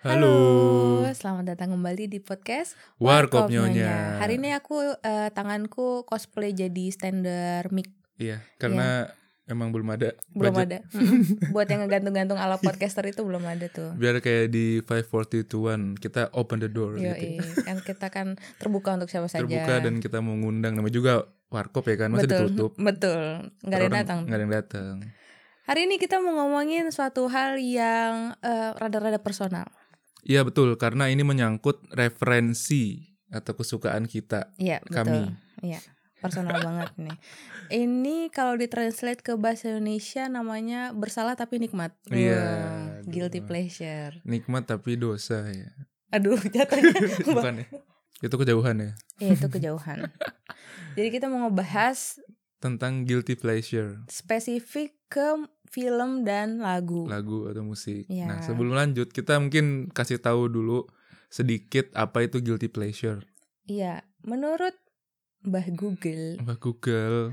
Halo. selamat datang kembali di podcast Warkop Warkop Nyonya. Hari ini aku eh, tanganku cosplay jadi stander mic Iya, karena emang belum ada. Iya. belum budget. ada. Mm-mm. Buat yang ngegantung-gantung ala podcaster itu belum ada tuh. Biar kayak di 542 kita open the door Yo, gitu. kan kita kan terbuka untuk siapa saja. Terbuka dan kita mau ngundang namanya juga warkop ya kan, masa betul, ditutup. betul. Nggak ada yang datang. Enggak ada yang datang. Hari ini kita mau ngomongin suatu hal yang eh, rada-rada personal. Iya betul, karena ini menyangkut referensi atau kesukaan kita. Iya, Kami. betul. Iya, personal banget nih. Ini kalau ditranslate ke bahasa Indonesia namanya bersalah tapi nikmat. Iya, Wah, guilty aduh. pleasure. Nikmat tapi dosa ya. Aduh, jatuhnya. Ba- Bukan ya? Itu kejauhan ya. Iya, itu kejauhan. Jadi kita mau ngebahas Tentang guilty pleasure, spesifik ke film dan lagu. lagu atau musik. Iya. Nah, sebelum lanjut kita mungkin kasih tahu dulu sedikit apa itu guilty pleasure. Iya, menurut Mbah Google, Mbak Google.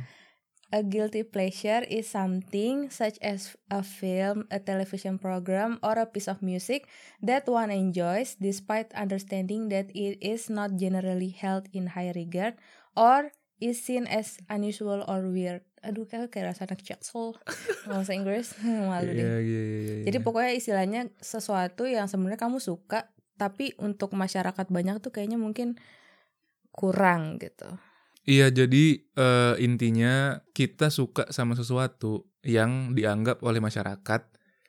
A guilty pleasure is something such as a film, a television program, or a piece of music that one enjoys despite understanding that it is not generally held in high regard or is seen as unusual or weird. Aduh, kayak kayak rasa anak jaksel. Bahasa Inggris malu deh. Iya, iya, iya, iya, Jadi iya. pokoknya istilahnya sesuatu yang sebenarnya kamu suka tapi untuk masyarakat banyak tuh kayaknya mungkin kurang gitu. Iya, jadi eh, intinya kita suka sama sesuatu yang dianggap oleh masyarakat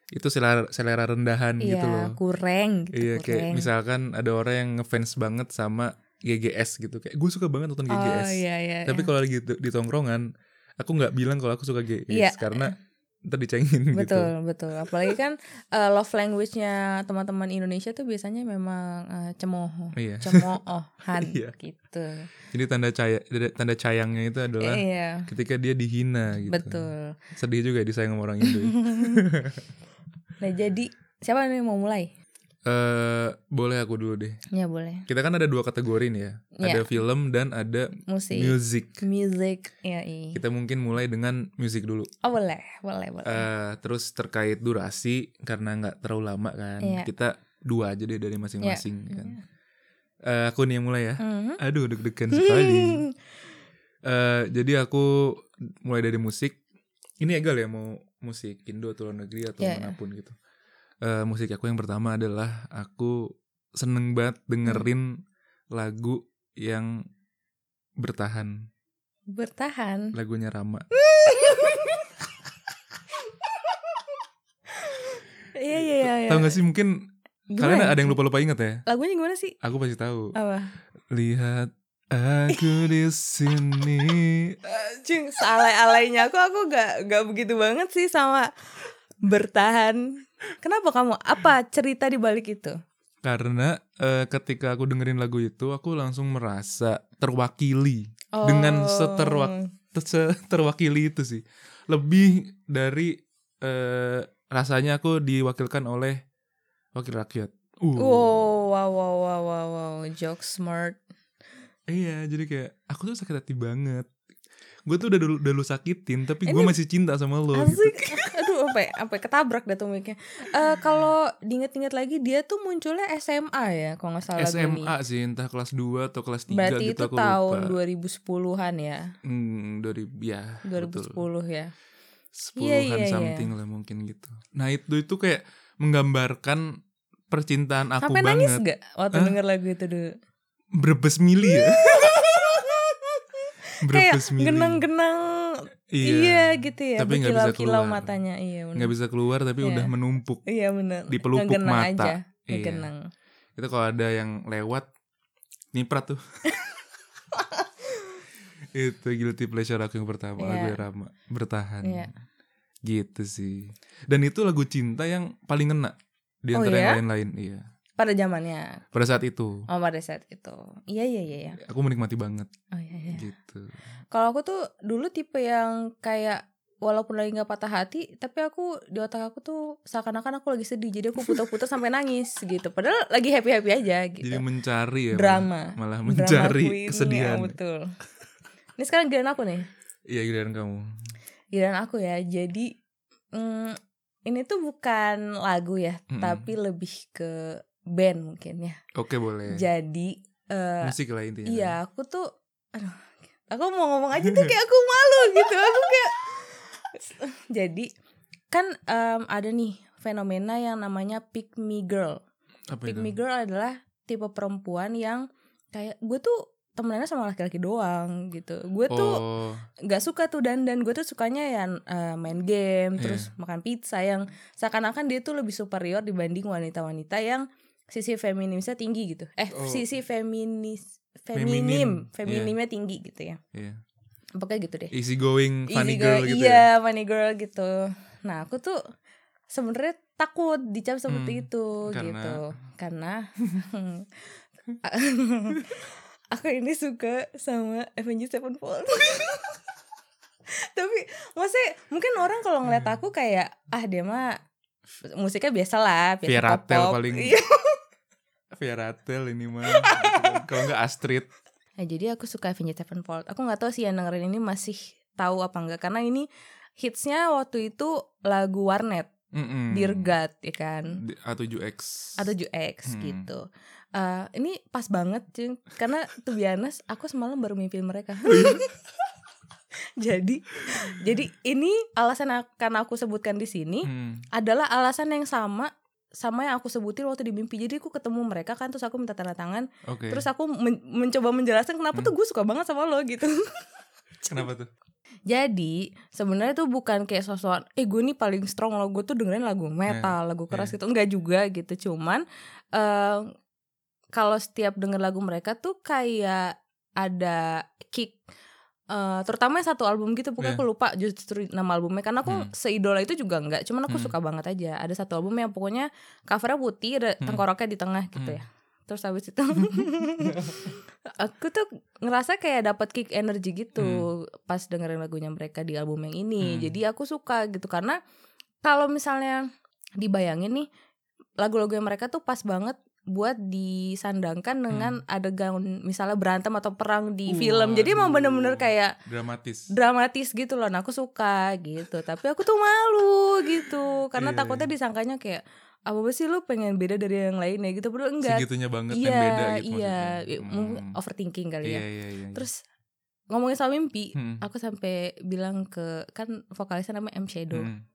itu selera selera rendahan Iya, gitu loh. kurang gitu. Iya, kayak kurang. misalkan ada orang yang ngefans banget sama GGS gitu. Kayak gue suka banget nonton GGS. Oh iya iya. Tapi kalau lagi di di tongkrongan, aku nggak bilang kalau aku suka GGS Iya. karena ntar dicengin gitu. betul betul. Apalagi kan eh, love language-nya teman-teman Indonesia tuh biasanya memang eh, cemooh, Iya. cemoohan Iya. gitu. Jadi tanda caya tanda cayangnya itu adalah Iya. ketika dia dihina gitu. Betul. Sedih juga disayang sama orang Indo. Nah, jadi siapa yang mau mulai? Eh, boleh aku dulu deh. Ya boleh. Kita kan ada dua kategori nih ya. Ada film dan ada Musik. music. Music. Ya, iya. Kita mungkin mulai dengan music dulu. Oh, boleh, boleh, boleh. Eh, terus terkait durasi karena nggak terlalu lama kan. Iya. Kita dua aja deh dari masing-masing Ya. kan. Hmm. Eh, aku nih yang mulai ya. Mhm. Aduh deg-degan sekali. Eh, jadi aku mulai dari musik. Ini egal ya mau musik Indo atau luar negeri atau Iya, iya. manapun gitu. Eh, musik aku yang pertama adalah aku seneng banget Hmm. dengerin lagu yang bertahan. Bertahan. Lagunya Rama. Iya iya iya. iya. Tahu gak sih mungkin kalian Gimana? Oh. ada yang lupa-lupa inget ya? Lagunya gimana sih? Aku pasti tahu. Apa? Lihat aku di sini. Cing, sealai-alainya aku aku gak gak begitu banget sih sama bertahan. Kenapa kamu? Apa cerita di balik itu? Karena eh, ketika aku dengerin lagu itu aku langsung merasa terwakili. Dengan Oh. seterwak- ter- terwakili itu sih lebih dari eh, rasanya aku diwakilkan oleh wakil rakyat. Uh. Wow, wow, wow, wow, wow, wow. Joke smart. Iya, jadi kayak aku tuh sakit hati banget. Gue tuh udah dulu udah lu sakitin, tapi gue Ini- masih cinta sama lo. Gitu. Asik. Aduh, apa ya? Apa ya? ketabrak dah tuh mic-nya. Eh, kalau diinget-inget lagi dia tuh munculnya SMA ya, kalau nggak salah lagu ini. SMA sih, entah kelas 2 atau kelas 3 Berarti gitu itu aku tahun lupa. 2010-an ya. Hmm, 2000 ya. 2010 betul. ya. Iya, Sepuluhan iya, iya. something lah mungkin gitu. Nah, itu itu kayak menggambarkan percintaan aku Sampai nangis banget. gak waktu Hah? denger lagu itu dulu? Brebes mili ya. Kayak Brebes mili. genang-genang iya. gitu ya. Tapi nggak bisa berkilau-kilau keluar. matanya. Iya benar. nggak bisa keluar tapi Iya. udah menumpuk Iya benar. di pelupuk Ngegenang mata. aja. Iya. Ngegenang. itu kalau ada yang lewat niprat tuh itu guilty pleasure aku yang pertama Iya. lagu Rama bertahan Iya. gitu sih dan itu lagu cinta yang paling ngena di Oh, antara iya? yang lain-lain iya Pada zamannya. pada saat itu Oh pada saat itu. Iya iya iya. iya. aku menikmati banget Oh iya iya. gitu Kalau aku tuh dulu tipe yang kayak walaupun lagi nggak patah hati, tapi aku di otak aku tuh seakan-akan aku lagi sedih. Jadi aku putar-putar sampai nangis gitu. Padahal lagi happy-happy aja gitu. jadi mencari ya drama. malah, malah Drama queen, mencari ya, kesedihan betul. Ini sekarang giliran aku nih. iya giliran kamu Giliran aku ya. Jadi mm, ini tuh bukan lagu ya, Mm-mm. tapi lebih ke band mungkin ya. Oke boleh. Jadi eh, Musik ya. lah intinya. Iya, aku tuh aduh, aku mau ngomong aja tuh kayak aku malu gitu. Aku kayak Jadi kan em, ada nih fenomena yang namanya pick me girl. kan? Apa Pick itu? me girl adalah tipe perempuan yang kayak gue tuh temenannya sama laki-laki doang gitu. Gue tuh Oh, nggak suka tuh dandan gue tuh sukanya yang eh, main game Iya. terus makan pizza yang seakan-akan dia tuh lebih superior dibanding wanita-wanita yang sisi feminisnya tinggi gitu eh Oh. sisi feminis Feminim, feminim feminimnya tinggi gitu ya iya. pokoknya gitu deh Easy going, funny Easy girl girl, gitu ya. iya funny girl gitu nah aku tuh sebenarnya takut dicap seperti Hmm, itu karena- gitu karena aku ini suka sama Avengers Sevenfold tapi maksudnya mungkin orang kalau ngeliat Hmm. aku kayak ah dia mah musiknya biasa lah biasa Via Ratel pop-pop." paling. Iya. ya? Via Ratel ini mah. gitu kan. Kalau nggak Astrid. nah, jadi aku suka Avengers Sevenfold aku nggak tahu sih yang dengerin ini masih tahu apa enggak karena ini hitsnya waktu itu lagu warnet Mm-mm. Dear God ya kan Di- A7X. atau UX Hmm. gitu Eh, ini pas banget cuy karena tuh biasa aku semalam baru mimpi mereka jadi jadi ini alasan ak- karena aku sebutkan di sini Hmm. adalah alasan yang sama sama yang aku sebutin waktu di mimpi jadi aku ketemu mereka kan terus aku minta tanda tangan Oke. Hmm. terus aku men- mencoba menjelaskan kenapa tuh gue suka banget sama lo gitu Kenapa tuh? jadi sebenarnya tuh bukan kayak sosokan Eh gue nih paling strong loh Gue tuh dengerin lagu Iya, metal Lagu keras gitu Enggak juga gitu Cuman eh Kalau setiap denger lagu mereka tuh kayak Ada kick eh Terutama yang satu album gitu Pokoknya Iya. aku lupa justru nama albumnya Karena aku Hmm. seidola itu juga enggak Cuman aku Hmm. suka banget aja Ada satu album yang pokoknya Covernya putih Ada Hmm. tengkoroknya di tengah gitu Hmm. ya Terus habis itu aku tuh ngerasa kayak dapat kick energy gitu pas dengerin lagunya mereka di album yang ini. Hmm. Jadi aku suka gitu karena kalau misalnya dibayangin nih lagu-lagu yang mereka tuh pas banget buat disandangkan dengan Hmm. adegan misalnya berantem atau perang di film. Jadi emang Uh, Waduh. bener-bener kayak Dramatis. dramatis gitu loh. Nah, aku suka gitu. Tapi aku tuh malu gitu Iya, karena iya. takutnya disangkanya kayak apa sih lu pengen beda dari yang lainnya gitu. Padahal enggak Segitunya banget iya, yang beda gitu iya, maksudnya. i- mungkin Hmm. overthinking kali Iya, ya. iya, iya. iya. Terus ngomongin soal mimpi, Hmm. aku sampai bilang ke kan vokalisnya namanya M Shadow. Hmm.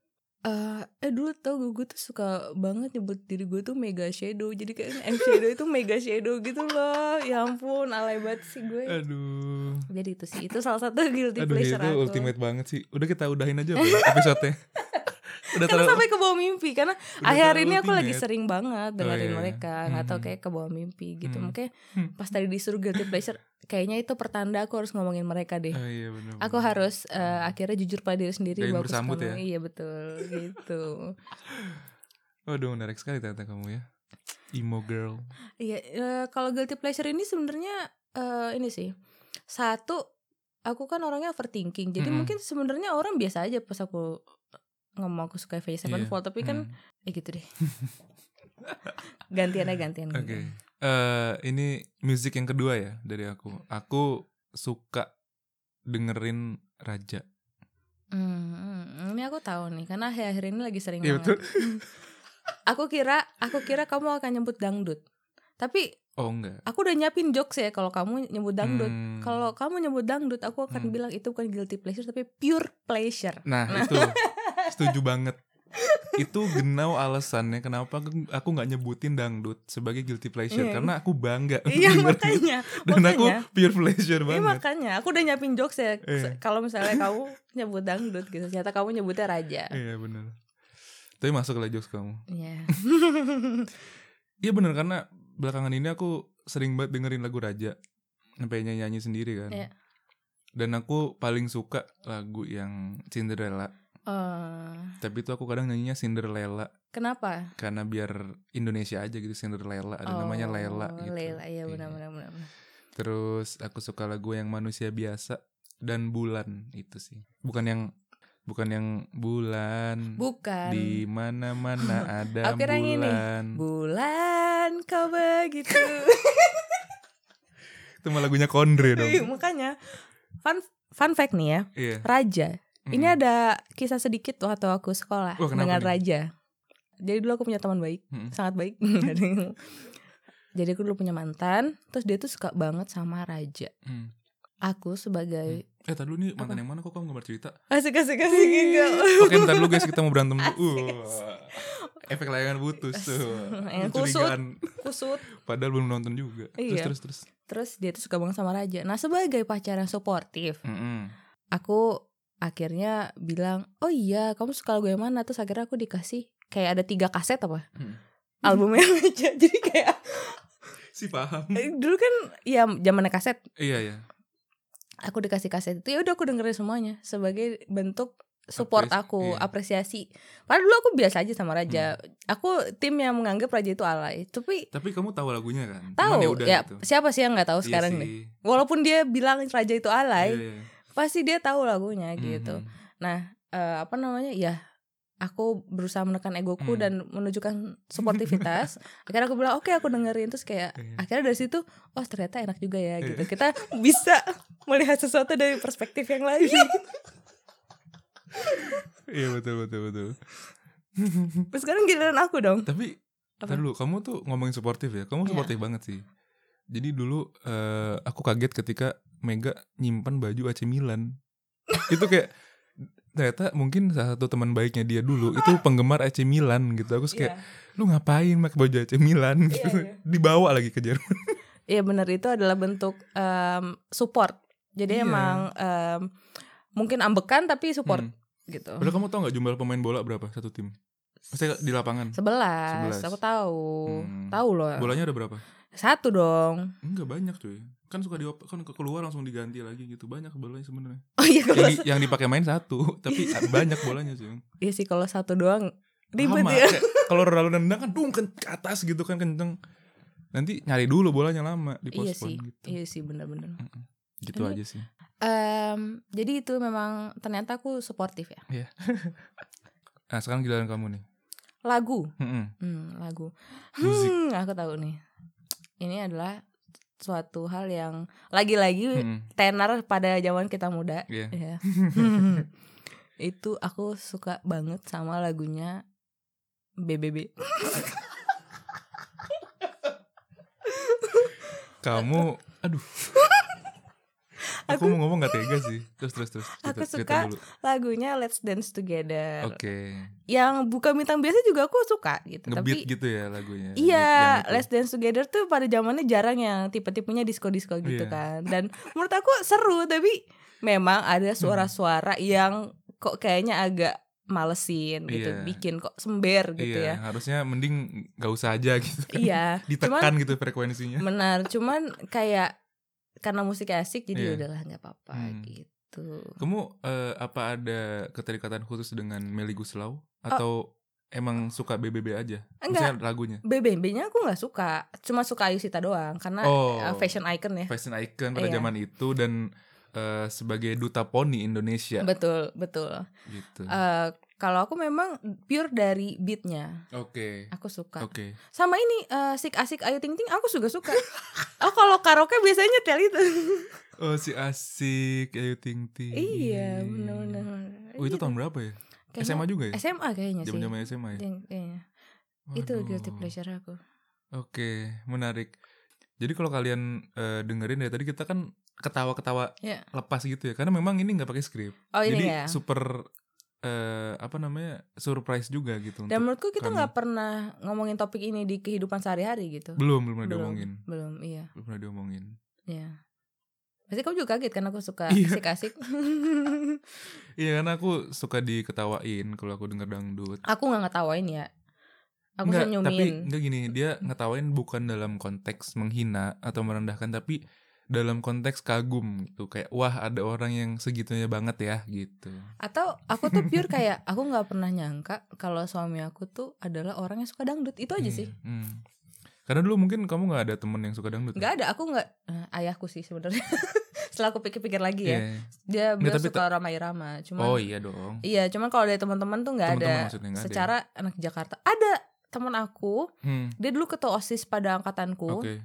Eh, eh dulu tau gue, gue tuh suka banget nyebut diri gue tuh Mega Shadow. Jadi kayak M Shadow itu Mega Shadow gitu loh. Ya ampun, alay banget sih gue. Aduh. Jadi itu sih, itu salah satu guilty Eh. Aduh pleasure itu aku. ultimate banget sih. Udah kita udahin aja apa ya episode-nya. Udah terlalu Karena Kan sampai ke bawah mimpi karena Udah akhir terlalu ini aku lagi ultimate. sering banget dengerin iya. mereka nggak tahu Mhm. kayak ke bawah mimpi gitu Hmm. makanya Hmm. pas tadi disuruh guilty pleasure kayaknya itu pertanda aku harus ngomongin mereka deh Oh, iya, bener, aku bener. harus eh, akhirnya jujur pada diri sendiri Gayung bahwa aku suka bersambut banget. ya? iya betul gitu Waduh menarik sekali ternyata kamu ya. Emo girl. iya eh, kalau guilty pleasure ini sebenarnya eh, ini sih satu aku kan orangnya overthinking jadi Mm-mm. mungkin sebenarnya orang biasa aja pas aku ngomong aku suka Avenged Sevenfold tapi kan Hmm. ya gitu deh gantian aja gantian Hmm. gitu. Oke. gantian. Eh, ini musik yang kedua ya dari aku. Aku suka dengerin Raja. Hmm, ini aku tahu nih karena akhir-akhir ini lagi sering Iya, banget. aku kira, aku kira kamu akan nyebut dangdut. Tapi Oh enggak. aku udah nyiapin jokes ya kalau kamu nyebut dangdut. Hmm. Kalau kamu nyebut dangdut, aku akan Hmm. bilang itu bukan guilty pleasure tapi pure pleasure. Nah, itu setuju banget. Itu genau alasannya kenapa aku- aku nggak nyebutin dangdut sebagai guilty pleasure Iya. karena aku bangga untuk Iya dengerin. makanya, dan aku makanya. pure pleasure Iya banget. makanya, aku udah nyiapin jokes ya. Iya. Kalau misalnya kamu nyebut dangdut gitu, ternyata kamu nyebutnya raja. Iya benar. Tapi masuk lah jokes kamu. Iya. Iya bener karena belakangan ini aku sering banget dengerin lagu Raja sampai nyanyi-nyanyi sendiri kan. Iya. Dan aku paling suka lagu yang Cinderella. Eh, Tapi itu aku kadang nyanyinya Cinderella kenapa? karena biar Indonesia aja gitu Cinderella ada namanya Oh, Lela gitu. Lela, Iya. iya benar-benar benar. Terus aku suka lagu yang Manusia Biasa dan Bulan itu sih. Bukan yang bukan yang bulan Bukan. di mana-mana ada Aku kira yang ini. bulan. Bulan kau begitu. Itu mah lagunya Kondre dong. Iya, Makanya fun fun fact nih ya, Iya. Raja. Ini Mm-mm. ada kisah sedikit waktu aku sekolah Wah, kenapa dengan nih? Mm. Raja. jadi dulu aku punya teman baik Mm-mm. sangat baik jadi aku dulu punya mantan terus dia tuh suka banget sama raja Hmm. aku sebagai Ah, Eh, tadi nih mantan yang mana kok kamu gambar cerita? asik asik asik enggak Oke, ntar dulu guys kita mau berantem dulu. Uh, efek layangan putus tuh. Yang Kecurigaan. kusut Padahal belum nonton juga. Iya. Terus terus terus. terus dia tuh suka banget sama raja nah sebagai pacar yang suportif Mm-mm. aku akhirnya bilang oh iya kamu suka lagu yang mana terus akhirnya aku dikasih kayak ada tiga kaset apa Hmm. albumnya aja jadi kayak Si paham. eh, dulu kan ya zamannya kaset iya ya. aku dikasih kaset itu ya udah aku dengerin semuanya sebagai bentuk support Apresi- aku iya. Hmm. apresiasi padahal dulu aku biasa aja sama raja aku tim yang menganggap raja itu alay tapi Tapi kamu tahu lagunya kan? Cuman tahu udah ya gitu. siapa sih yang nggak tahu Iya sekarang sih. nih walaupun dia bilang raja itu alay Iya, iya. pasti dia tahu lagunya gitu Mhm. eh, apa namanya ya aku berusaha menekan egoku Hmm. dan menunjukkan sportivitas akhirnya aku bilang oke aku dengerin terus kayak Iya. akhirnya dari situ oh ternyata enak juga ya Iya. gitu kita bisa melihat sesuatu dari perspektif yang lain Iya betul betul betul. terus sekarang giliran aku dong Tapi Apa? Ntar dulu, kamu tuh ngomongin suportif ya. Kamu Iya. suportif banget sih. Jadi dulu eh, aku kaget ketika Mega nyimpan baju AC Milan. itu kayak ternyata mungkin salah satu teman baiknya dia dulu itu penggemar AC Milan gitu. Aku terus kayak Iya. lu ngapain pakai baju AC Milan gitu. Iya, iya. Dibawa lagi ke Jerman. Iya benar itu adalah bentuk em, support jadi Iya. emang em, mungkin ambekan tapi support Hmm. gitu Padahal kamu tau gak jumlah pemain bola berapa satu tim? Maksudnya di lapangan. Sebelas. sebelas aku tahu Hmm. tahu loh Bolanya ada berapa? satu dong Enggak banyak cuy. Kan suka di kan ke- keluar langsung diganti lagi gitu. Banyak bolanya sebenarnya. oh iya Yang, kalau di- yang dipakai main satu, tapi banyak bolanya sih. Iya sih kalau satu doang ribet Lama, ya. kayak kalau Ronaldo nendang kan dung ke ke atas gitu kan kenceng. Nanti nyari dulu bolanya lama di Iya sih, gitu. iya sih benar-benar. Gitu Ini- aja sih. Em, jadi itu memang ternyata aku sportif ya. Nah, sekarang giliran kamu nih. Lagu, Mm-mm. hmm, lagu. Musik. Hmm, aku tahu nih. Ini adalah suatu hal yang lagi-lagi Mm-mm. tenar pada zaman kita muda. Iya. Ya. itu aku suka banget sama lagunya BBB. Kamu aduh. aku, eh, Aku- mau ngomong gak tega sih. Terus terus terus. Aku Cerita- cerita suka dulu. Lagunya Let's Dance Together. Oke. Yang bukan bintang biasa juga aku suka gitu. Ngebeat Tapi gitu ya lagunya. Iya, Yang itu. Let's Dance Together tuh pada zamannya jarang yang tipe-tipenya disco-disco gitu Iya. kan. Dan menurut aku seru tapi memang ada Hmm. suara-suara yang kok kayaknya agak malesin gitu, Iya. bikin kok sember gitu iya, harusnya mending gak usah aja gitu. ya. Iya. Ditekan gitu frekuensinya. Benar, cuman kayak karena musiknya asik Iya. jadi udahlah nggak apa-apa Hmm. gitu. Kamu eh, apa ada keterikatan khusus dengan Melly Guslau atau emang suka BBB aja? Oh. Enggak, Misalnya lagunya. BBB-nya aku nggak suka. Cuma suka Ayu Sita doang karena Oh. eh, fashion icon ya. Fashion icon pada Iya. zaman itu dan eh, sebagai duta poni Indonesia Betul, betul. gitu. Eh, kalau aku memang pure dari beatnya. Oke. Aku suka. Oke. Sama ini eh, sik asik ayu ting ting aku juga suka. oh kalau karaoke biasanya tel itu. Oh si asik Ayu Ting Ting. iya, benar-benar. Iya. Oh itu tahun berapa ya? Kayaknya- SMA juga ya? SMA kayaknya sih. Zaman-zaman SMA ya. Yang- kayaknya. Itu Waduh. guilty pleasure aku. Oke, menarik. Jadi kalau kalian eh, dengerin dari tadi kita kan ketawa-ketawa Iya. lepas gitu ya, karena memang ini nggak pakai skrip. Oh Jadi ini ya. super eh, apa namanya surprise juga gitu. Dan untuk- menurutku kita kami. nggak pernah ngomongin topik ini di kehidupan sehari-hari gitu. belum belum pernah Belum. diomongin, Belum, iya. belum pernah diomongin. Iya. Pasti kamu juga kaget kan aku suka Iya. asik asik. Iya karena aku suka diketawain kalau aku denger dangdut. aku nggak ngetawain ya. Ah, Aku Nggak, senyumin. tapi enggak gini, dia ngetawain bukan dalam konteks menghina atau merendahkan tapi dalam konteks kagum gitu kayak wah ada orang yang segitunya banget ya gitu. atau aku tuh pure kayak aku nggak pernah nyangka kalau suami aku tuh adalah orang yang suka dangdut itu aja Iya, sih hmm. Karena dulu mungkin kamu nggak ada temen yang suka dangdut. kan? nggak ada aku nggak eh, ayahku sih sebenarnya setelah aku pikir-pikir lagi ya Iya. dia Nggak, beliau tapi suka ramai-ramai cuman Oh iya dong. iya cuman kalau dari teman-teman tuh nggak ada Teman-teman maksudnya nggak ada ya? secara anak Jakarta ada teman aku Hmm, dia dulu ketua osis pada angkatanku Oke.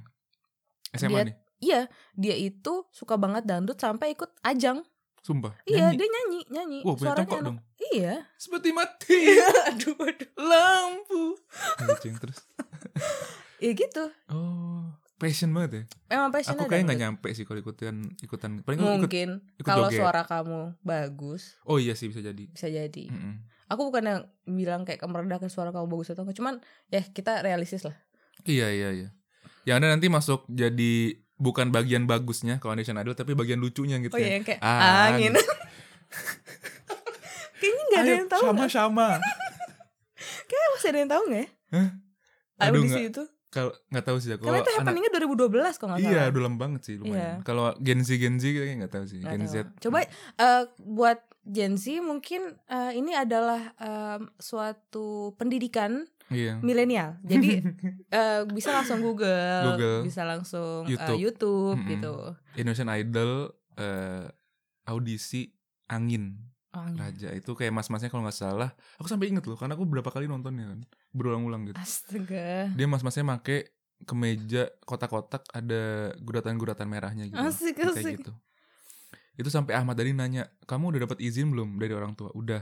SMA Dia- nih. iya dia itu suka banget dangdut sampai ikut ajang Sumpah. Iya, Nyanyi. dia nyanyi, nyanyi. Wah, punya tengkok enak. dong. Iya. Seperti mati aduh, aduh. lampu. Anjing terus. Ya gitu. Oh, passion banget ya. Emang passionnya Aku ada kayaknya nggak gitu. nyampe sih kalau ikutan ikutan. Paling aku ikut. Mungkin ikut kalau joget. suara kamu bagus Oh iya sih bisa jadi. bisa jadi. Mm-mm. Aku bukan yang bilang kayak merendahkan suara kamu bagus atau enggak, cuman ya kita realistis lah. Iya iya iya. Yang ada nanti masuk jadi bukan bagian bagusnya kalau Indonesian Idol tapi bagian lucunya gitu. Oh ya. iya yang kayak Ah, angin. angin. Kayaknya nggak ada Ayo, yang tahu. nggak? Sama-sama. Kayak masih ada yang tahu nggak ya? Hah? Aduh, Audisi nggak- itu. Kalau nggak tahu sih aku. Karena itu happeningnya 2012 kalau nggak salah. Iya, udah lama banget sih lumayan. Kalau Gen Z Gen Z kayaknya nggak tahu sih. Nggak Gen tahu. Z. Coba eh, buat Gen Z mungkin eh, ini adalah em, suatu pendidikan Iya. milenial. Jadi eh, bisa langsung Google, Google. bisa langsung eh, YouTube. YouTube, Mm-mm. gitu. Indonesian Idol eh, audisi angin Oh, angin. raja itu kayak mas-masnya kalau nggak salah aku sampai inget loh karena aku berapa kali nontonnya kan berulang-ulang gitu Astaga. dia mas-masnya make kemeja kotak-kotak ada guratan-guratan merahnya gitu Asik, asik. kayak gitu itu sampai Ahmad Dhani nanya kamu udah dapat izin belum dari orang tua udah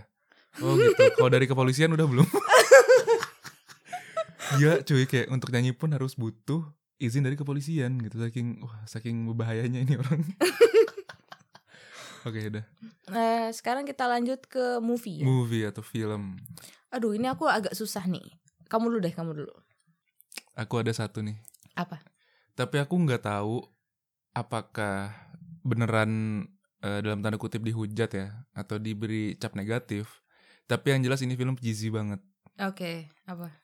oh gitu kalau dari kepolisian udah belum Iya cuy kayak untuk nyanyi pun harus butuh izin dari kepolisian gitu saking wah saking bahayanya ini orang oke udah Eh, sekarang kita lanjut ke movie. ya. movie atau film Aduh, ini aku agak susah nih. Kamu dulu deh, kamu dulu. aku ada satu nih Apa? tapi aku nggak tahu apakah beneran eh, dalam tanda kutip dihujat ya atau diberi cap negatif tapi yang jelas ini film cheesy banget Oke, apa?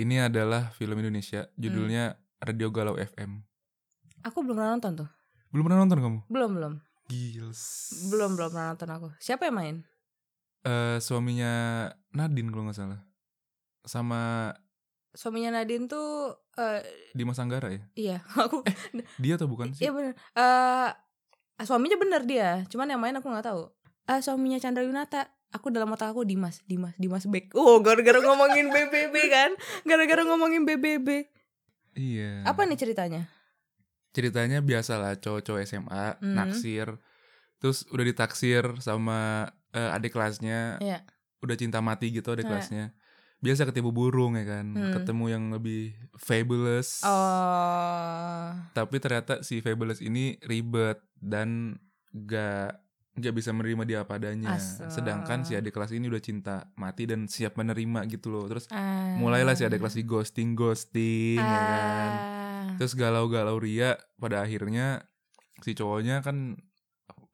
ini adalah film Indonesia judulnya Radio Galau FM Aku belum pernah nonton tuh. belum pernah nonton kamu Belum, belum. Gils Belum, belum pernah nonton aku. Siapa yang main? Eh, suaminya Nadine kalau nggak salah sama Suaminya Nadine tuh eh, Dimas Anggara ya iya, aku dia atau bukan sih Iya bener. Eh, suaminya bener dia, cuman yang main aku nggak tahu. Eh, suaminya Chandra Yunata. Aku dalam otak aku Dimas, Dimas, Dimas Beck. Oh, gara-gara ngomongin BBB kan? Gara-gara ngomongin BBB. iya Apa nih ceritanya? ceritanya biasalah cowok-cowok SMA Hmm. naksir terus udah ditaksir sama eh, adik kelasnya Iya. udah cinta mati gitu adik Iya. kelasnya biasa ketemu burung ya kan Hmm. ketemu yang lebih fabulous Oh, tapi ternyata si fabulous ini ribet dan gak nggak bisa menerima dia apa adanya Asa. sedangkan si adik kelas ini udah cinta mati dan siap menerima gitu loh terus ah. mulailah si adik kelas di ghosting ghosting ya kan Ah. Terus galau-galau Ria pada akhirnya si cowoknya kan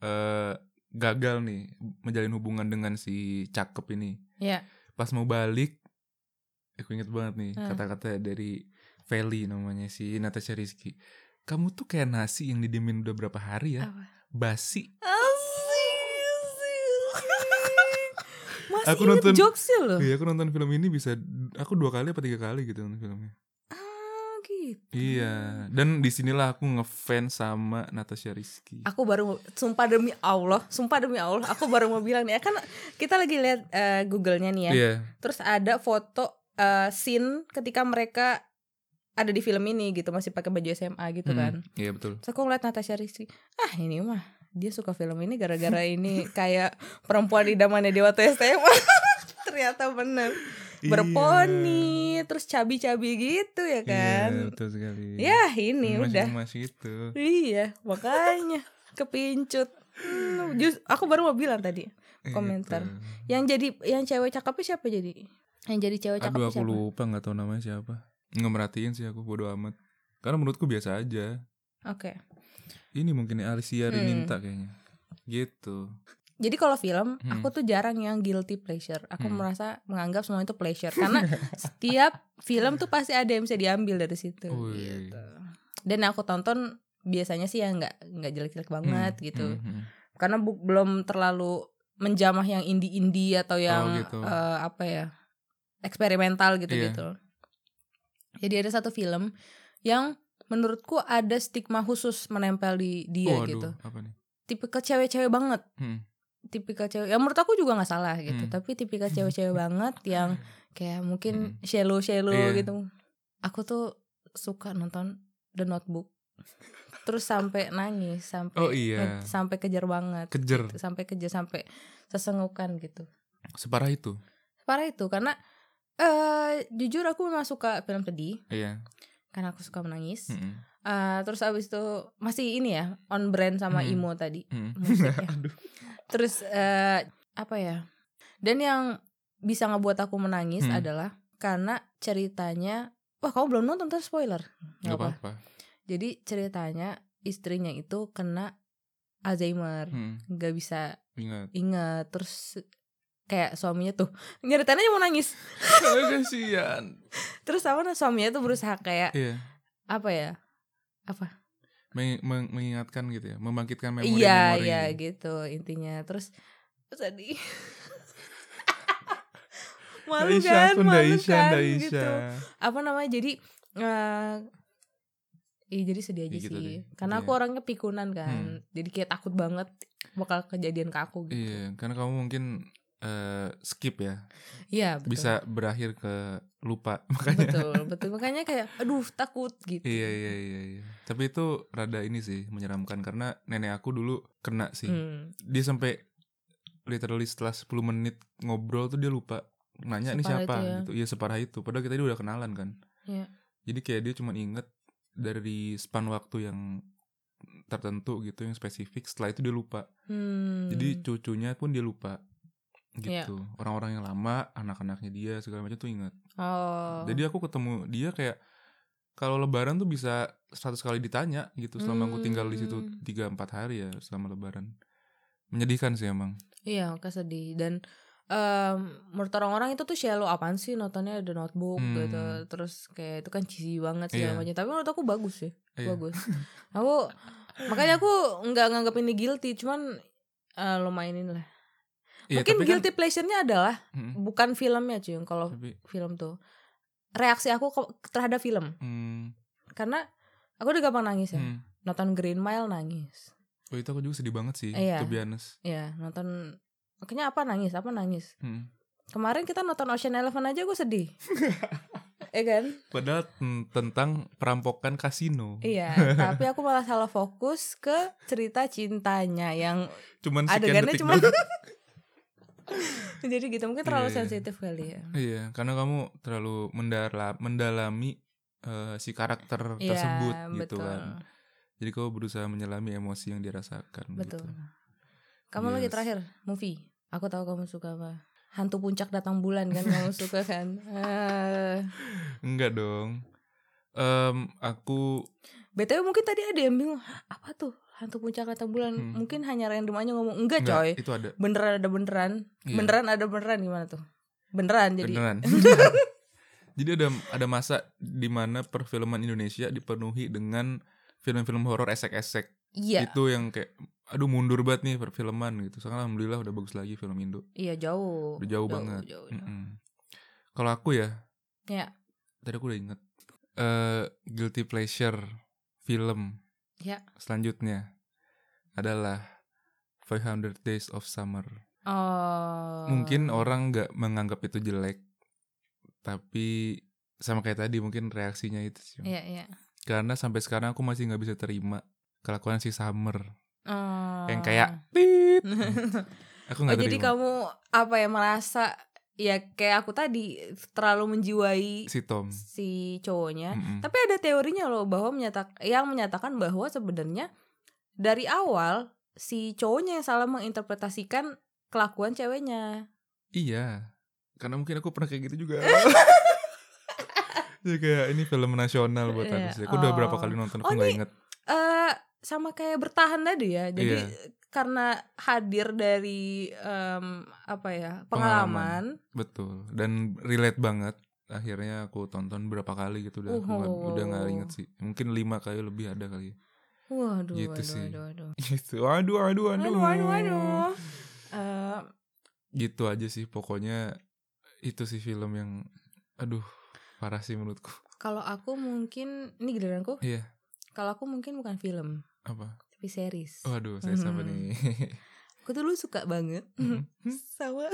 eh, gagal nih menjalin hubungan dengan si cakep ini. Iya. Pas mau balik, aku inget banget nih Hmm. kata-kata dari Feli namanya si Natasha Rizky. Kamu tuh kayak nasi yang didiemin udah berapa hari ya, Apa? basi. Asik, asik. Masih Aku inget nonton- jokesnya loh. Iya, aku nonton film ini bisa aku dua kali apa tiga kali gitu nonton filmnya. Ah, gitu. Iya, dan disinilah aku ngefans sama Natasha Rizky. Aku baru mau- sumpah demi Allah, sumpah demi Allah, aku baru mau bilang nih, kan kita lagi lihat eh, Google-nya nih ya. Iya, Terus ada foto eh, scene ketika mereka ada di film ini gitu, masih pakai baju SMA gitu Mm, kan. Iya betul. Terus aku ngeliat Natasha Rizky, ah ini mah dia suka film ini gara-gara ini kayak perempuan idamannya di waktu SMA. Ternyata bener berponi, terus cabi-cabi gitu Iya, ya kan. betul sekali. gitu. Yah ini Masih- udah. masih itu. Iya, makanya kepincut. Hmm, jus- aku baru mau bilang tadi Iya, komentar. Yang jadi yang cewek cakepnya siapa jadi? Yang jadi cewek Aduh cakepnya aku siapa? lupa nggak tahu namanya siapa. Nggak merhatiin sih aku bodo amat. Karena menurutku biasa aja. Oke. Ini mungkin Alicia Hmm. Rininta kayaknya. Gitu. Jadi kalau film, Hmm. aku tuh jarang yang guilty pleasure. Aku Hmm. merasa menganggap semua itu pleasure karena setiap film tuh pasti ada yang bisa diambil dari situ. Wih. Gitu. Dan yang aku tonton biasanya sih yang nggak nggak jelek-jelek banget Hmm, gitu. hmm, hmm. Karena bu- belum terlalu menjamah yang indie-indie atau yang gitu. eh, apa ya eksperimental gitu-gitu. Iya. Jadi ada satu film yang menurutku ada stigma khusus menempel di dia Waduh, gitu. apa nih? Tipikal cewek-cewek banget, Hmm. tipikal cewek. Ya menurut aku juga nggak salah gitu, Hmm. tapi tipikal cewek-cewek banget yang kayak mungkin shallow shallow Iya. gitu. Aku tuh suka nonton The Notebook. terus sampai nangis sampai Oh, iya. sampai kejar banget Kejer. gitu, sampai kejar sampai sesengukan gitu Separah itu. parah itu karena eh jujur aku memang suka film sedih Iya. Hmm, karena aku suka menangis Mm-mm. Eh, terus abis itu masih ini ya on brand sama Hmm. emo tadi Mm. musiknya. Aduh. terus eh apa ya dan yang bisa ngebuat aku menangis Hmm. adalah karena ceritanya wah kamu belum nonton terus spoiler Nggak Gak apa. apa-apa. jadi ceritanya istrinya itu kena Alzheimer Mm. nggak bisa Ingat. inget terus kayak suaminya tuh nyeritain aja mau nangis Ah, Kasihan. terus sama suaminya tuh berusaha kayak Iya. apa ya Meng- meng- mengingatkan gitu ya, membangkitkan memori-memori. iya iya gitu intinya terus tadi malu Daisha, kan pun malu Daisha, kan Daisha. gitu apa namanya jadi eh iya jadi sedih aja Ya gitu sih deh, karena aku iya. Hmm. orangnya pikunan kan jadi kayak takut banget bakal kejadian ke aku gitu Iya, karena kamu mungkin eh, skip ya, iya betul bisa berakhir ke lupa makanya. betul betul makanya kayak aduh takut gitu Iya iya iya iya. Tapi itu rada ini sih menyeramkan karena nenek aku dulu kena sih. Hmm. Dia sampai literally setelah 10 menit ngobrol tuh dia lupa nanya nih Separah siapa itu ya. gitu. Iya separah itu. Padahal kita udah kenalan kan. Iya. Jadi kayak dia cuma inget dari span waktu yang tertentu gitu yang spesifik setelah itu dia lupa. Hmm. Jadi cucunya pun dia lupa Iya. gitu. Orang-orang yang lama, anak-anaknya dia segala macam tuh ingat. oh Jadi aku ketemu dia kayak kalau lebaran tuh bisa 100 kali ditanya gitu selama aku tinggal di situ 3 Hmm. 4 hari ya selama lebaran. Menyedihkan sih emang. Iya, makanya sedih dan em, menurut orang-orang itu tuh shallow apaan sih nontonnya The Notebook Hmm. gitu. Terus kayak itu kan cheesy banget Iya. segala macam. Tapi menurut aku bagus sih, Iya. bagus. aku makanya aku nggak nganggap ini guilty, cuman eh, lumayan ini lah. Iya, Mungkin tapi kan- guilty pleasure-nya adalah Mm, bukan filmnya cuy, kalau tapi film tuh reaksi aku ke- terhadap film mm, karena aku udah gampang nangis ya. mm. Nonton Green Mile nangis. Oh, itu aku juga sedih banget sih, Iya. to be honest. Ya, nonton makanya apa nangis, apa nangis. Mm. Kemarin kita nonton Ocean Eleven aja gue sedih. ya kan? Padahal mm, tentang perampokan kasino. Iya, tapi aku malah salah fokus ke cerita cintanya yang Cuman sekian adegannya detik cuma doang. Jadi gitu mungkin Iya, terlalu iya. sensitif kali ya. Iya, karena kamu terlalu mendala- mendalami eh, si karakter tersebut gitu Iya, betul. kan. Jadi kamu berusaha menyelami emosi yang dirasakan Betul. gitu. Kamu lagi Yes. terakhir movie. Aku tahu kamu suka apa. Hantu puncak datang bulan kan kamu suka kan. Eh, Enggak dong. Em, aku BTW mungkin tadi ada yang bingung, "Hah, apa tuh? Hantu puncak datang bulan. Hmm. Mungkin hanya random aja ngomong, "Enggak, enggak, coy." itu ada. Beneran ada beneran. Iya. Beneran ada beneran gimana tuh? Beneran jadi. Beneran. Jadi ada ada masa di mana perfilman Indonesia dipenuhi dengan film-film horor esek-esek. Iya. Itu yang kayak aduh mundur banget nih perfilman gitu. Sekarang alhamdulillah udah bagus lagi film Indo. Iya jauh. Udah jauh banget. Hmm. jauh, jauh. Mm-mm. Kalau aku ya, gitu Ya. tadi aku udah inget Eh, guilty pleasure film Ya. selanjutnya adalah 500 Days of Summer. Oh. Mungkin orang nggak menganggap itu jelek, tapi sama kayak tadi mungkin reaksinya itu sih. Iya iya. Karena sampai sekarang aku masih nggak bisa terima kelakuan si Summer Oh. yang kayak tit. aku Oh nggak jadi terima. kamu apa ya merasa ya kayak aku tadi terlalu menjiwai Si Tom. si cowoknya. Mm-mm. Tapi ada teorinya loh bahwa menyatak yang menyatakan bahwa sebenarnya dari awal si cowoknya yang salah menginterpretasikan kelakuan ceweknya. Iya, karena mungkin aku pernah kayak gitu juga. Jadi kayak ini film nasional buat Iya. aku sih. Aku udah Oh. berapa kali nonton, aku Oh, nggak ini- inget. Eh sama kayak bertahan tadi ya. Jadi Iya. karena hadir dari em, apa ya Pengalaman. pengalaman Betul. Dan relate banget. Akhirnya aku tonton berapa kali gitu udah aku nggak- Uhuh. udah nggak inget sih. Mungkin lima kali lebih ada kali. Waduh, Gitu waduh, sih. waduh, waduh. Gitu. Aduh, aduh, aduh. Waduh, waduh, waduh. Eh, Gitu aja sih pokoknya itu sih film yang aduh parah sih menurutku. kalau aku mungkin ini giliranku. Iya. Kalau aku mungkin bukan film, Apa? tapi series. Waduh, saya sama Hmm. nih. Aku tuh dulu suka banget sama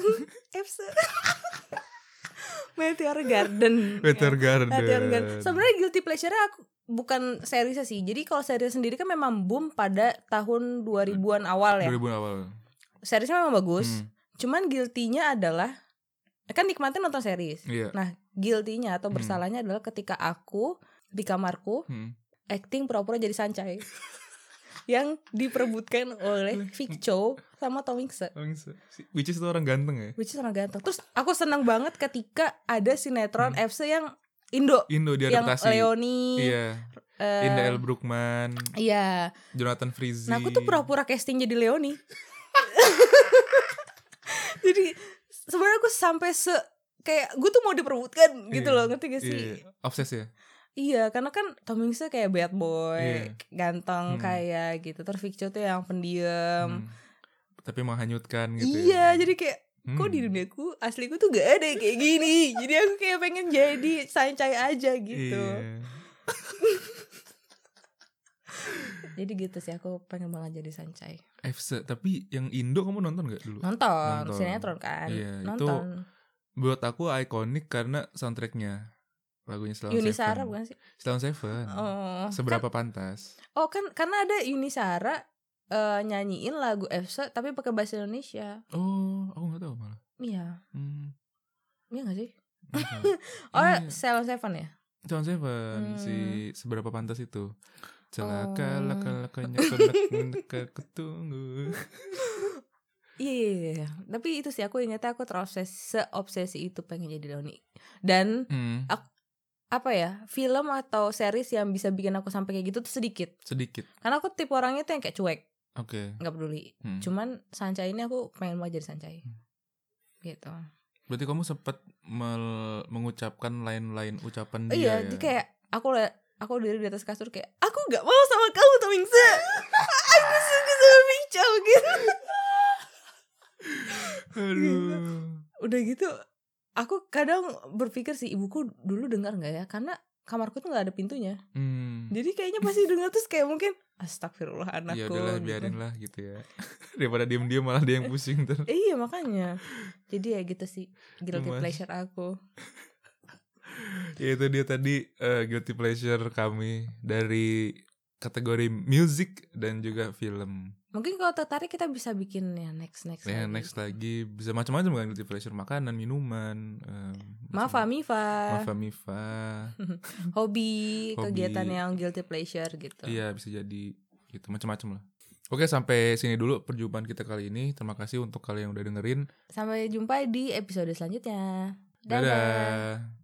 Epsa. Meteor Garden. Meteor Ya, Meteor Garden. Garden. Sebenarnya guilty pleasure aku bukan seriesnya sih. Jadi kalau series sendiri kan memang boom pada tahun 2000-an awal ya. 2000 awal. Seriesnya memang bagus. Hmm, Cuman guilty-nya adalah kan nikmatin nonton series. iya. Nah, guilty-nya atau Hmm. bersalahnya adalah ketika aku di kamarku Hmm. acting pura-pura jadi sancai. yang diperebutkan oleh Vic Chow sama Tom Hanks. Oh, yang se- si- Which is itu orang ganteng ya. Which is orang ganteng. Terus aku senang banget ketika ada sinetron FC yang Indo Indo yang diadaptasi. Leoni, Hmm. Iya. eh, Indah L. Brookman, iya. Jonathan Frizzy. Nah aku tuh pura-pura casting jadi Leoni. jadi sebenarnya aku sampai se kayak gue tuh mau diperebutkan gitu Iya. loh ngerti gak sih? Iya, obses ya. Iya karena kan Tom Hanks tuh kayak bad boy, Iya. ganteng Hmm. kayak gitu. Terus Vic Cho tuh yang Hmm. pendiam. Tapi menghanyutkan gitu. iya ya. jadi kayak Hmm. kok di duniaku asliku tuh gak ada kayak gini. jadi aku kayak pengen jadi sancai aja gitu. Iya. Jadi gitu sih aku pengen banget jadi sancai. FC, tapi yang Indo kamu nonton gak dulu? Nonton, Nonton. sinetron kan. Iya, itu nonton. Buat aku ikonik karena soundtracknya lagunya Selamat Yunisara Seven. bukan sih? Selamat Seven. kan? Oh, Hmm. Seberapa pantas? kan- oh kan karena ada Yunisara eh, nyanyiin lagu Efsa tapi pakai bahasa Indonesia. Oh, aku nggak tahu malah. Iya, Hmm. iya gak sih? nggak tahu. Oh, Iya. Salon Seven ya? Sound Seven Hmm. si seberapa pantas itu. Oh. Celaka laka lakanya kelak mendekat ketunggu. Iya, iya, iya, iya. Tapi itu sih aku ingatnya aku terobsesi seobsesi itu pengen jadi Doni. Dan Hmm, apa ya? Film atau series yang bisa bikin aku sampai kayak gitu tuh sedikit. sedikit. Karena aku tipe orangnya tuh yang kayak cuek, Oke. nggak peduli. Hmm. Cuman Sancai ini aku pengen mau jadi Sancai. Gitu. Berarti kamu sempat mel- mengucapkan lain-lain ucapan dia Oh iya, ya. dia kayak aku le- aku dari di atas kasur kayak aku nggak mau sama kamu Tomingse. aku suka sama Pincau gitu. Aduh. Udah gitu aku kadang berpikir sih ibuku dulu dengar nggak ya karena kamarku tuh nggak ada pintunya. Hmm. Jadi kayaknya pasti dengar terus kayak mungkin astagfirullah anakku. ya udahlah gitu. biarin lah gitu ya daripada diem diem malah dia yang pusing ter Eh, iya makanya. Jadi ya gitu sih guilty Lumayan. pleasure aku. ya itu dia tadi eh, guilty pleasure kami dari kategori music dan juga film Mungkin kalau tertarik kita bisa bikin ya next next. ya lagi. next lagi bisa macam-macam kan guilty pleasure makanan minuman em, Maaf macam- Amifa, maaf Amifa Hobi. hobi, kegiatan yang guilty pleasure gitu. iya bisa jadi gitu macam-macam lah Oke sampai sini dulu perjumpaan kita kali ini. Terima kasih untuk kalian yang udah dengerin. Sampai jumpa di episode selanjutnya. Dadah.